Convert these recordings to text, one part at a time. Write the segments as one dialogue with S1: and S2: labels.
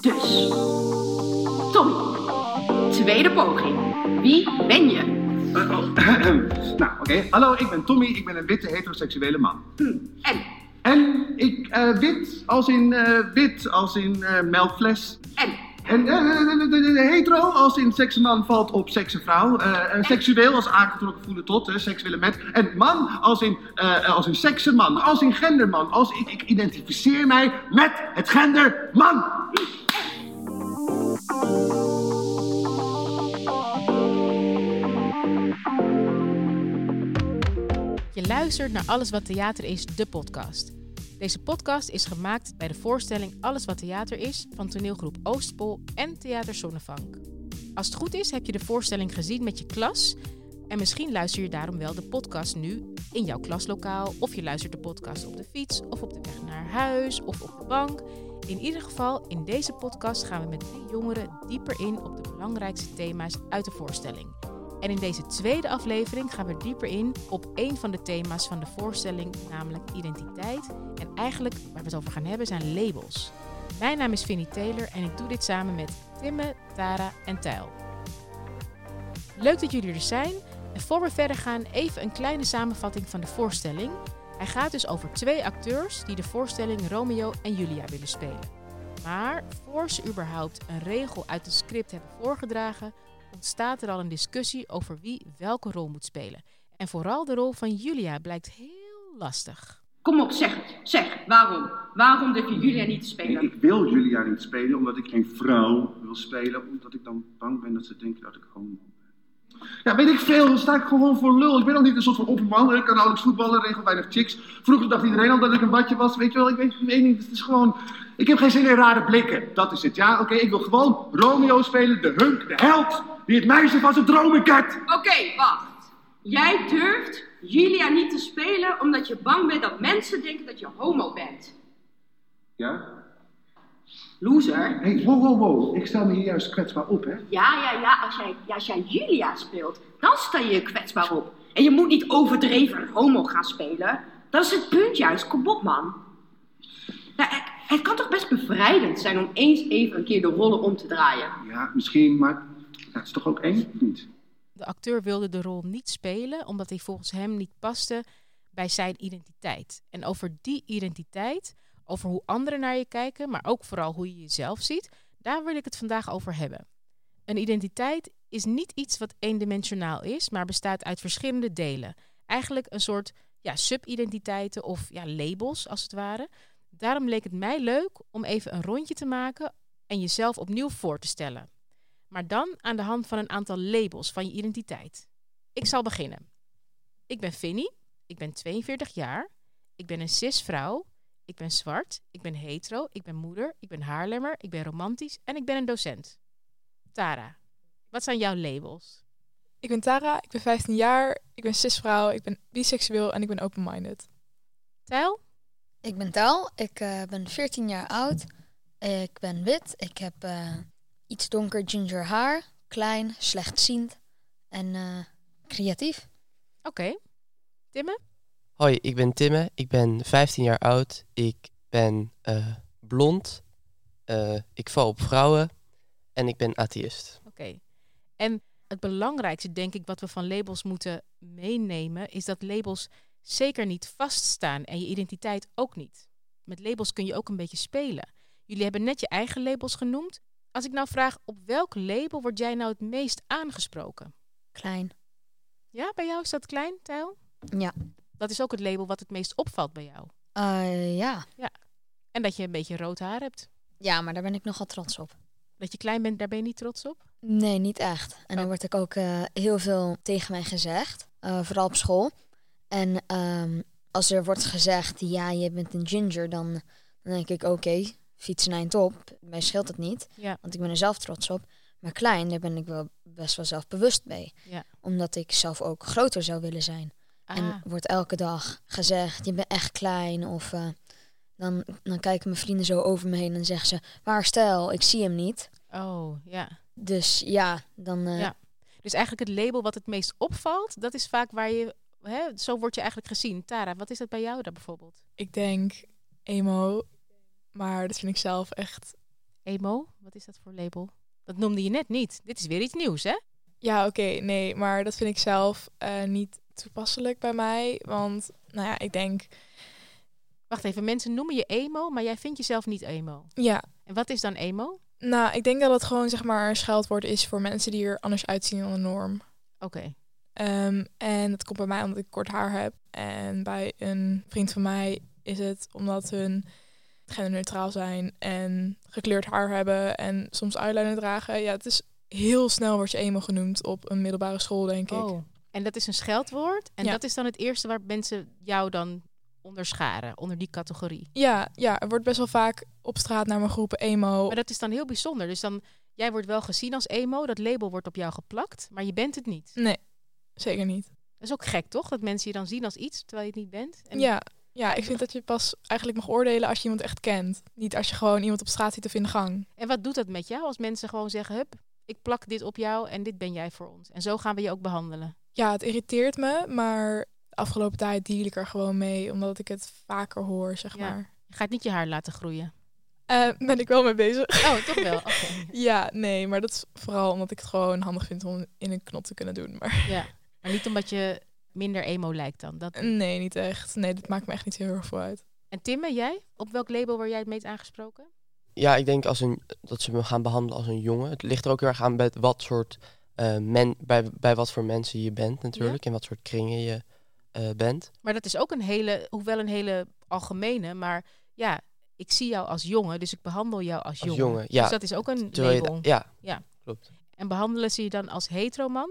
S1: Dus, Tommy, tweede poging. Wie ben je?
S2: Eh, oh, nou, oké. Hallo, ik ben Tommy. Ik ben een witte heteroseksuele man.
S1: En,
S2: En ik, eh, wit als in eh, wit, als in eh melkfles.
S1: en,
S2: En eh, eh, eh, eh, hetero als in seksman valt op seksenvrouw. Eh, eh, seksueel als aangetrokken voelen tot, eh, seks willen met. En man als in, eh, eh, als in seksenman, als in genderman. Als ik, ik identificeer mij met het gender man.
S3: Je luistert naar Alles wat Theater is, de podcast. Deze podcast is gemaakt bij de voorstelling Alles wat Theater is van toneelgroep Oostpol en Theater Zonnevank. Als het goed is, heb je de voorstelling gezien met je klas en misschien luister je daarom wel de podcast nu in jouw klaslokaal of je luistert de podcast op de fiets of op de weg naar huis of op de bank. In ieder geval, in deze podcast gaan we met drie jongeren dieper in op de belangrijkste thema's uit de voorstelling. En in deze tweede aflevering gaan we dieper in op een van de thema's van de voorstelling, namelijk identiteit. En eigenlijk waar we het over gaan hebben zijn labels. Mijn naam is Vinnie Taylor en ik doe dit samen met Timme, Tara en Tijl. Leuk dat jullie er zijn. En voor we verder gaan, even een kleine samenvatting van de voorstelling. Hij gaat dus over twee acteurs die de voorstelling Romeo en Julia willen spelen. Maar voor ze überhaupt een regel uit het script hebben voorgedragen, ontstaat er al een discussie over wie welke rol moet spelen. En vooral de rol van Julia blijkt heel lastig.
S1: kom op, zeg het. Zeg, waarom? Waarom durf je Julia niet te
S2: Nee,
S1: spelen?
S2: ik wil Julia niet spelen omdat ik geen vrouw wil spelen. Omdat ik dan bang ben dat ze denken dat ik homo ben. Ja, weet ik veel. Dan sta ik gewoon voor lul. Ik ben al niet een soort van opperman. Ik kan nauwelijks voetballen, regel weinig chicks. Vroeger dacht iedereen al dat ik een watje was. Weet je wel, ik weet, ik weet niet. Het is gewoon... Ik heb geen zin in rare blikken. Dat is het, ja? Oké, ik wil gewoon Romeo spelen. De hunk, de held. Die het meisje van zijn dromen kent.
S1: Oké, wacht. Jij durft Julia niet te spelen omdat je bang bent dat mensen denken dat je homo bent.
S2: Ja?
S1: Loser.
S2: Hé, hey, wow, wow, wow. Ik stel me hier juist kwetsbaar op, hè?
S1: Ja, ja, ja. Als jij, ja, als jij Julia speelt, dan sta je je kwetsbaar op. En je moet niet overdreven een homo gaan spelen. Dat is het punt juist. Kom op, man. Nou, het, het kan toch best bevrijdend zijn om eens even een keer de rollen om te draaien.
S2: Ja, misschien, maar... Dat is toch ook eng, of niet?
S3: De acteur wilde de rol niet spelen omdat hij volgens hem niet paste bij zijn identiteit. En over die identiteit, over hoe anderen naar je kijken, maar ook vooral hoe je jezelf ziet, daar wil ik het vandaag over hebben. Een identiteit is niet iets wat eendimensionaal is, maar bestaat uit verschillende delen. Eigenlijk een soort ja, sub-identiteiten of ja, labels als het ware. Daarom leek het mij leuk om even een rondje te maken en jezelf opnieuw voor te stellen. Maar dan aan de hand van een aantal labels van je identiteit. Ik zal beginnen. Ik ben Finny, ik ben 42 jaar, ik ben een cis-vrouw, ik ben zwart, ik ben hetero, ik ben moeder, ik ben haarlemmer, ik ben romantisch en ik ben een docent. Tara, wat zijn jouw labels?
S4: Ik ben Tara, ik ben 15 jaar, ik ben cisvrouw, ik ben biseksueel en ik ben open-minded.
S3: Tijl?
S5: Ik ben Taal, ik eh, ben 14 jaar oud. Ik ben wit, ik heb eh, iets donker ginger haar, klein, slechtziend en eh, creatief.
S3: Oké.
S6: Hoi, ik ben Timme. Ik ben 15 jaar oud. Ik ben eh, blond. Eh, ik val op vrouwen. En ik ben atheïst.
S3: Oké. En het belangrijkste, denk ik, wat we van labels moeten meenemen, is dat labels zeker niet vaststaan en je identiteit ook niet. Met labels kun je ook een beetje spelen. Jullie hebben net je eigen labels genoemd. Als ik nou vraag, op welk label word jij nou het meest aangesproken?
S5: Klein.
S3: Ja, bij jou is dat klein, Tijl?
S5: Ja.
S3: Dat is ook het label wat het meest opvalt bij jou.
S5: Eh, ja.
S3: En dat je een beetje rood haar hebt.
S5: ja, maar daar ben ik nogal trots op.
S3: Dat je klein bent, daar ben je niet trots op?
S5: Nee, niet echt. En
S3: Oh.
S5: dan wordt ik ook eh, heel veel tegen mij gezegd, eh, vooral op school. En ehm, als er wordt gezegd, ja, je bent een ginger, dan, dan denk ik, oké, fietsen eind op. Mij scheelt het niet,
S3: Ja.
S5: want ik ben er zelf trots op. Maar klein, daar ben ik wel best wel zelfbewust mee.
S3: Ja.
S5: Omdat ik zelf ook groter zou willen zijn. En
S3: Ah,
S5: wordt elke dag gezegd, je bent echt klein. Of eh, dan, dan kijken mijn vrienden zo over me heen en zeggen ze, waar stijl, ik zie hem niet.
S3: oh, ja.
S5: Dus ja, dan... eh,
S3: Ja. Dus eigenlijk het label wat het meest opvalt, dat is vaak waar je. Hè, zo word je eigenlijk gezien. Tara, wat is dat bij jou dan bijvoorbeeld?
S4: Ik denk emo, maar dat vind ik zelf echt
S3: Emo? Wat is dat voor label? Dat noemde je net niet. Dit is weer iets nieuws, hè?
S4: Ja, oké, nee, maar dat vind ik zelf eh, niet toepasselijk bij mij. Want, nou ja, ik denk,
S3: Wacht even, mensen noemen je emo, maar jij vindt jezelf niet emo.
S4: ja.
S3: En wat is dan emo? Oké.
S4: Nou, ik denk dat het gewoon zeg maar een scheldwoord is voor mensen die er anders uitzien dan de norm. Ehm, en dat komt bij mij omdat ik kort haar heb. En bij een vriend van mij is het omdat hun genderneutraal zijn en gekleurd haar hebben en soms eyeliner dragen. Ja, het is heel snel word je emo genoemd op een middelbare school, denk ik.
S3: Oh. En dat is een scheldwoord. En
S4: Ja.
S3: dat is dan het eerste waar mensen jou dan onderscharen, onder die categorie.
S4: Ja, ja, er wordt best wel vaak op straat naar mijn groepen emo.
S3: Maar dat is dan heel bijzonder. Dus dan, jij wordt wel gezien als emo, dat label wordt op jou geplakt, maar je bent het niet.
S4: Nee, zeker niet.
S3: Dat is ook gek, toch? Dat mensen je dan zien als iets, terwijl je het niet bent. En
S4: Ja, ja, ik vind dat je pas eigenlijk mag oordelen als je iemand echt kent. Niet als je gewoon iemand op straat ziet of in de gang.
S3: En wat doet dat met jou als mensen gewoon zeggen: Hup, ik plak dit op jou en dit ben jij voor ons. En zo gaan we je ook behandelen.
S4: Ja, het irriteert me, maar de afgelopen tijd deal ik er gewoon mee, omdat ik het vaker hoor, zeg
S3: Ja.
S4: maar.
S3: Je gaat niet je haar laten groeien.
S4: Eh, ben ik wel mee bezig?
S3: Oh, toch wel. Oké.
S4: ja, nee, maar dat is vooral omdat ik het gewoon handig vind om in een knop te kunnen doen. Maar
S3: Ja. Maar niet omdat je minder emo lijkt dan. Dat...
S4: nee, niet echt. Nee, dat maakt me echt niet heel erg veel uit.
S3: En Timme, jij? Op welk label word jij het meest aangesproken?
S6: Ja, ik denk als een, dat ze me gaan behandelen als een jongen. Het ligt er ook heel erg aan bij wat soort eh, men, bij, bij wat voor mensen je bent natuurlijk. En wat soort kringen je eh, bent.
S3: Maar dat is ook een hele, hoewel een hele algemene, maar ja, ik zie jou als jongen, dus ik behandel jou als,
S6: Als jongen, ja.
S3: Dus dat is ook een
S6: Terwijl je
S3: label.
S6: da- ja,
S3: Ja.
S6: klopt.
S3: En behandelen ze je dan als heteroman?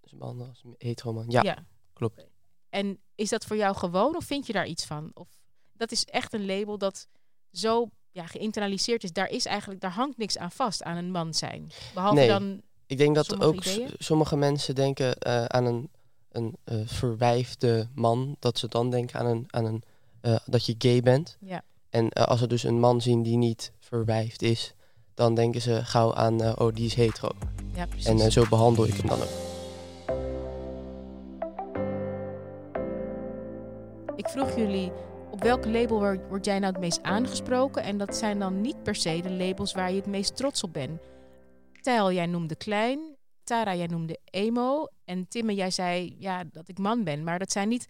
S6: Dus behandelen als een hetero man. Ja, klopt.
S3: En is dat voor jou gewoon of vind je daar iets van? Of dat is echt een label dat zo ja, geïnternaliseerd is. Daar is eigenlijk, daar hangt niks aan vast aan een man zijn. Behalve
S6: Nee.
S3: dan.
S6: ik denk dat
S3: Sommige
S6: ook s-
S3: ideeën?
S6: sommige mensen denken eh, aan een, een eh, verwijfde man. Dat ze dan denken aan, een, aan een, eh, dat je gay bent.
S3: Ja.
S6: En eh, als ze dus een man zien die niet verwijfd is, dan denken ze gauw aan, eh, oh, die is hetero.
S3: Ja, precies.
S6: En eh, zo behandel ik hem dan ook.
S3: Ik vroeg jullie op welk label wor- word jij nou het meest aangesproken? En dat zijn dan niet per se de labels waar je het meest trots op bent. Tijl, jij noemde klein. Tara, jij noemde emo. En Timme, jij zei ja, dat ik man ben. Maar dat zijn niet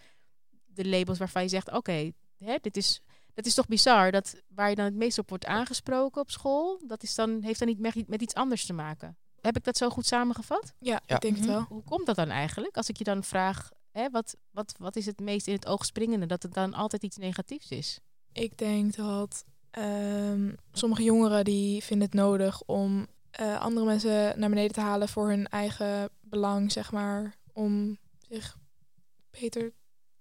S3: de labels waarvan je zegt: oké, hè, dit is. Dat is toch bizar dat waar je dan het meest op wordt aangesproken op school, dat is dan, heeft dan niet met, met iets anders te maken. Heb ik dat zo goed samengevat?
S4: Ja,
S6: Ja.
S4: ik denk het
S3: Mhm.
S4: wel.
S3: Hoe komt dat dan eigenlijk? Als ik je dan vraag, hè, wat, wat, wat is het meest in het oog springende? Dat het dan altijd iets negatiefs is.
S4: Ik denk dat ehm, sommige jongeren die vinden het nodig om eh, andere mensen naar beneden te halen voor hun eigen belang, zeg maar. Om zich beter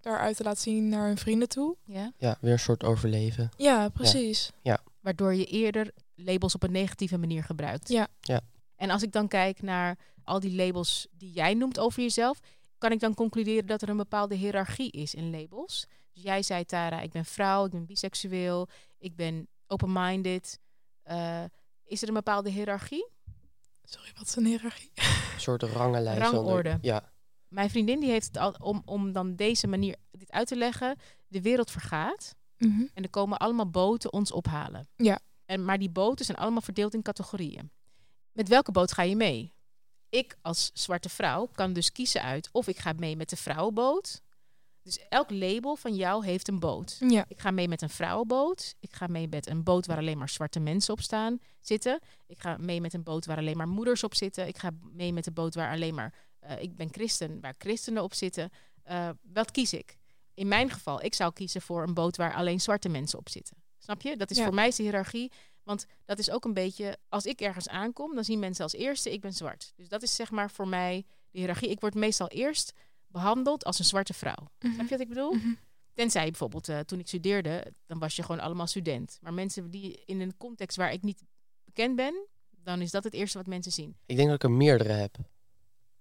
S4: daaruit te laten zien naar hun vrienden toe.
S3: Ja?
S6: Ja, weer een soort overleven.
S4: Ja, precies.
S3: Waardoor je eerder labels op een negatieve manier gebruikt.
S4: Ja.
S6: Ja.
S3: En als ik dan kijk naar al die labels die jij noemt over jezelf, kan ik dan concluderen dat er een bepaalde hiërarchie is in labels. Dus jij zei, Tara, ik ben vrouw, ik ben biseksueel, ik ben open-minded. Eh, is er een bepaalde hiërarchie?
S4: Sorry, wat is een hiërarchie?
S6: Een soort rangenlijst. zonder-
S3: Rangorde.
S6: Ja,
S3: mijn vriendin die heeft het al om, om dan deze manier dit uit te leggen. De wereld vergaat
S4: Mhm.
S3: en er komen allemaal boten ons ophalen.
S4: Ja.
S3: En, maar die boten zijn allemaal verdeeld in categorieën. Met welke boot ga je mee? Ik als zwarte vrouw kan dus kiezen uit of ik ga mee met de vrouwenboot. Dus elk label van jou heeft een boot.
S4: Ja.
S3: Ik ga mee met een vrouwenboot. Ik ga mee met een boot waar alleen maar zwarte mensen op staan, zitten. Ik ga mee met een boot waar alleen maar moeders op zitten. Ik ga mee met een boot waar alleen maar... eh, ik ben christen, waar christenen op zitten. Eh, wat kies ik? In mijn geval, ik zou kiezen voor een boot waar alleen zwarte mensen op zitten. Snap je? Dat is
S4: Ja.
S3: voor mij is de hiërarchie. Want dat is ook een beetje... Als ik ergens aankom, dan zien mensen als eerste, ik ben zwart. Dus dat is zeg maar voor mij de hiërarchie. Ik word meestal eerst behandeld als een zwarte vrouw. Snap
S4: Mhm.
S3: je wat ik bedoel? Tenzij bijvoorbeeld eh, toen ik studeerde, dan was je gewoon allemaal student. Maar mensen die in een context waar ik niet bekend ben, dan is dat het eerste wat mensen zien.
S6: ik denk dat ik er meerdere heb.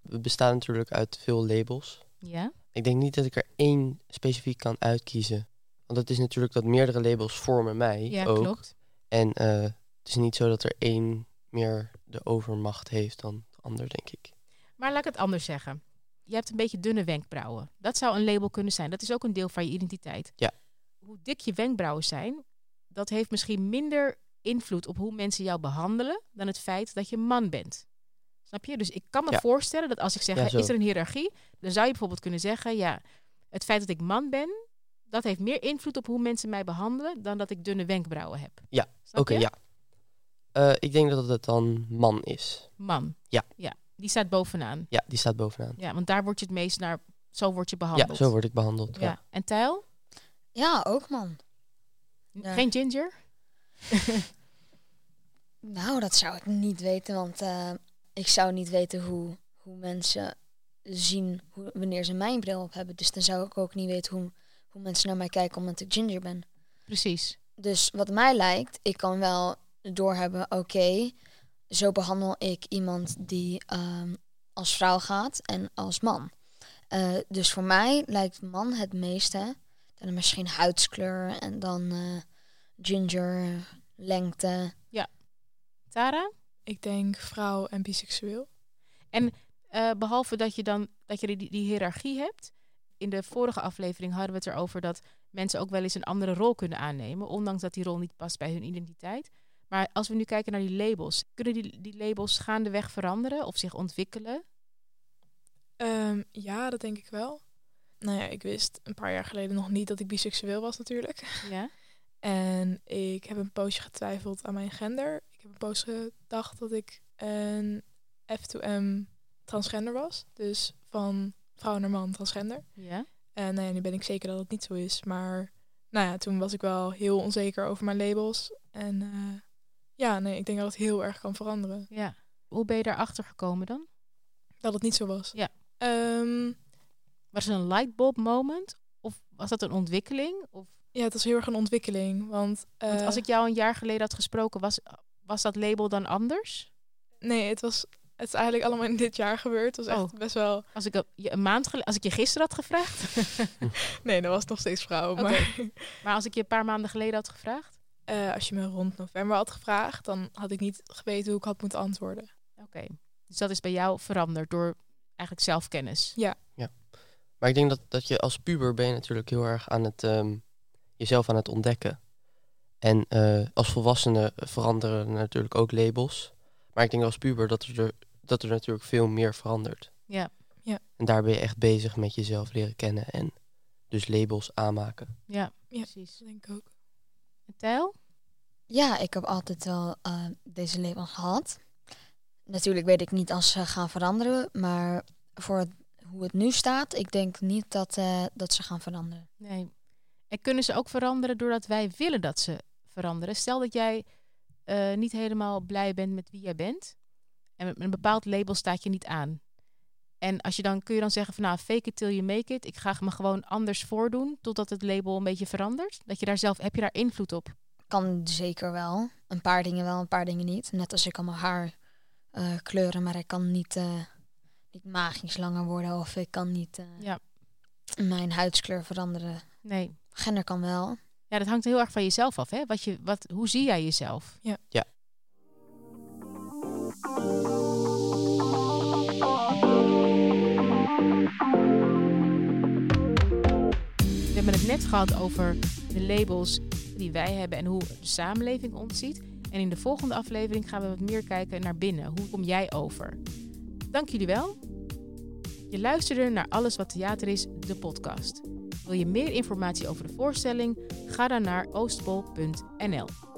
S6: We bestaan natuurlijk uit veel labels.
S3: Ja?
S6: Ik denk niet dat ik er één specifiek kan uitkiezen. Want het is natuurlijk dat meerdere labels vormen mij
S3: Ja,
S6: ook.
S3: klopt.
S6: En eh, het is niet zo dat er één meer de overmacht heeft dan de ander, denk ik.
S3: Maar laat ik het anders zeggen. Je hebt een beetje dunne wenkbrauwen. Dat zou een label kunnen zijn. Dat is ook een deel van je identiteit.
S6: Ja.
S3: Hoe dik je wenkbrauwen zijn, dat heeft misschien minder invloed op hoe mensen jou behandelen dan het feit dat je man bent. Snap je? Dus ik kan me
S6: Ja.
S3: voorstellen dat als ik zeg,
S6: Ja,
S3: hè,
S6: zo.
S3: is er een hiërarchie? Dan zou je bijvoorbeeld kunnen zeggen, ja, het feit dat ik man ben, dat heeft meer invloed op hoe mensen mij behandelen dan dat ik dunne wenkbrauwen heb.
S6: Ja,
S3: Snap
S6: Oké,
S3: je?
S6: ja. Eh, ik denk dat het dan man is.
S3: Man.
S6: Ja.
S3: ja. Die staat bovenaan.
S6: Ja, die staat bovenaan.
S3: Ja, want daar word je het meest naar, zo word je behandeld.
S6: Ja, zo word ik behandeld. Ja.
S3: Ja. En Tijl?
S5: Ja, ook man. Ja.
S3: Geen ginger?
S5: Nou, dat zou ik niet weten, want eh, ik zou niet weten hoe, hoe mensen zien hoe, wanneer ze mijn bril op hebben. Dus dan zou ik ook niet weten hoe, hoe mensen naar mij kijken omdat ik ginger ben.
S3: Precies.
S5: Dus wat mij lijkt, ik kan wel doorhebben, oké, zo behandel ik iemand die ehm, als vrouw gaat en als man. Eh, dus voor mij lijkt man het meeste. Dan misschien huidskleur en dan eh, ginger, lengte.
S3: Tara?
S4: Ik denk vrouw en biseksueel.
S3: Eh, behalve dat je dan dat je die, die hiërarchie hebt. In de vorige aflevering hadden we het erover dat mensen ook wel eens een andere rol kunnen aannemen, ondanks dat die rol niet past bij hun identiteit. Maar als we nu kijken naar die labels, kunnen die, die labels gaandeweg veranderen of zich ontwikkelen?
S4: Ehm, ja, dat denk ik wel. Nou ja, ik wist een paar jaar geleden nog niet dat ik biseksueel was natuurlijk.
S3: Ja.
S4: En ik heb een poosje getwijfeld aan mijn gender. Ik heb een poosje gedacht dat ik een F2M transgender was. Dus van vrouw naar man transgender.
S3: ja.
S4: En nou ja, nu ben ik zeker dat het niet zo is. Maar nou ja, toen was ik wel heel onzeker over mijn labels. En eh, ja, nee, ik denk dat het heel erg kan veranderen.
S3: Ja. Hoe ben je daarachter gekomen dan?
S4: Dat het niet zo was.
S3: Ja.
S4: Ehm,
S3: Was het een lightbulb moment? Of was dat een ontwikkeling? Of,
S4: ja, het was heel erg een ontwikkeling. Want,
S3: want
S4: eh,
S3: als ik jou een jaar geleden had gesproken, was, was dat label dan anders?
S4: Nee, het, was, het is eigenlijk allemaal in dit jaar gebeurd. Het was echt
S3: Oh.
S4: best wel...
S3: Als ik je een maand geleden, als ik je gisteren had gevraagd.
S4: Nee, dat was nog steeds vrouw.
S3: Oké.
S4: Maar
S3: Maar als ik je een paar maanden geleden had gevraagd?
S4: Eh, als je me rond november had gevraagd, dan had ik niet geweten hoe ik had moeten antwoorden.
S3: Oké. Dus dat is bij jou veranderd door eigenlijk zelfkennis.
S6: Maar ik denk dat, dat je als puber ben je natuurlijk heel erg aan het ehm, jezelf aan het ontdekken. En eh, als volwassene veranderen natuurlijk ook labels. Maar ik denk als puber dat er, dat er natuurlijk veel meer verandert.
S3: Ja.
S4: Ja.
S6: En daar ben je echt bezig met jezelf leren kennen en dus labels aanmaken.
S3: Ja,
S4: Ja.
S3: precies.
S4: denk ik ook.
S3: Tijl?
S5: Ja, ik heb altijd wel eh, deze labels gehad. Natuurlijk weet ik niet als ze gaan veranderen, maar voor het- hoe het nu staat, ik denk niet dat, eh, dat ze gaan veranderen.
S3: Nee. En kunnen ze ook veranderen doordat wij willen dat ze veranderen? Stel dat jij eh, niet helemaal blij bent met wie jij bent. En met een bepaald label staat je niet aan. En als je dan, kun je dan zeggen van nou, fake it till you make it. Ik ga me gewoon anders voordoen totdat het label een beetje verandert. Dat je daar zelf, heb je daar invloed op?
S5: Kan zeker wel. Een paar dingen wel, een paar dingen niet. Net als ik al mijn haar eh, kleuren, maar ik kan niet, eh, niet magisch langer worden of ik kan niet eh,
S3: Ja.
S5: mijn huidskleur veranderen.
S3: Nee.
S5: Gender kan wel.
S3: Ja, dat hangt heel erg van jezelf af, hè? Wat je, wat, hoe zie jij jezelf?
S4: Ja.
S6: Ja.
S3: We hebben het net gehad over de labels die wij hebben en hoe de samenleving ons ziet. En in de volgende aflevering gaan we wat meer kijken naar binnen. Hoe kom jij over? Dank jullie wel. Je luisterde naar Alles wat Theater is, de podcast. Wil je meer informatie over de voorstelling? Ga dan naar oostpol.nl.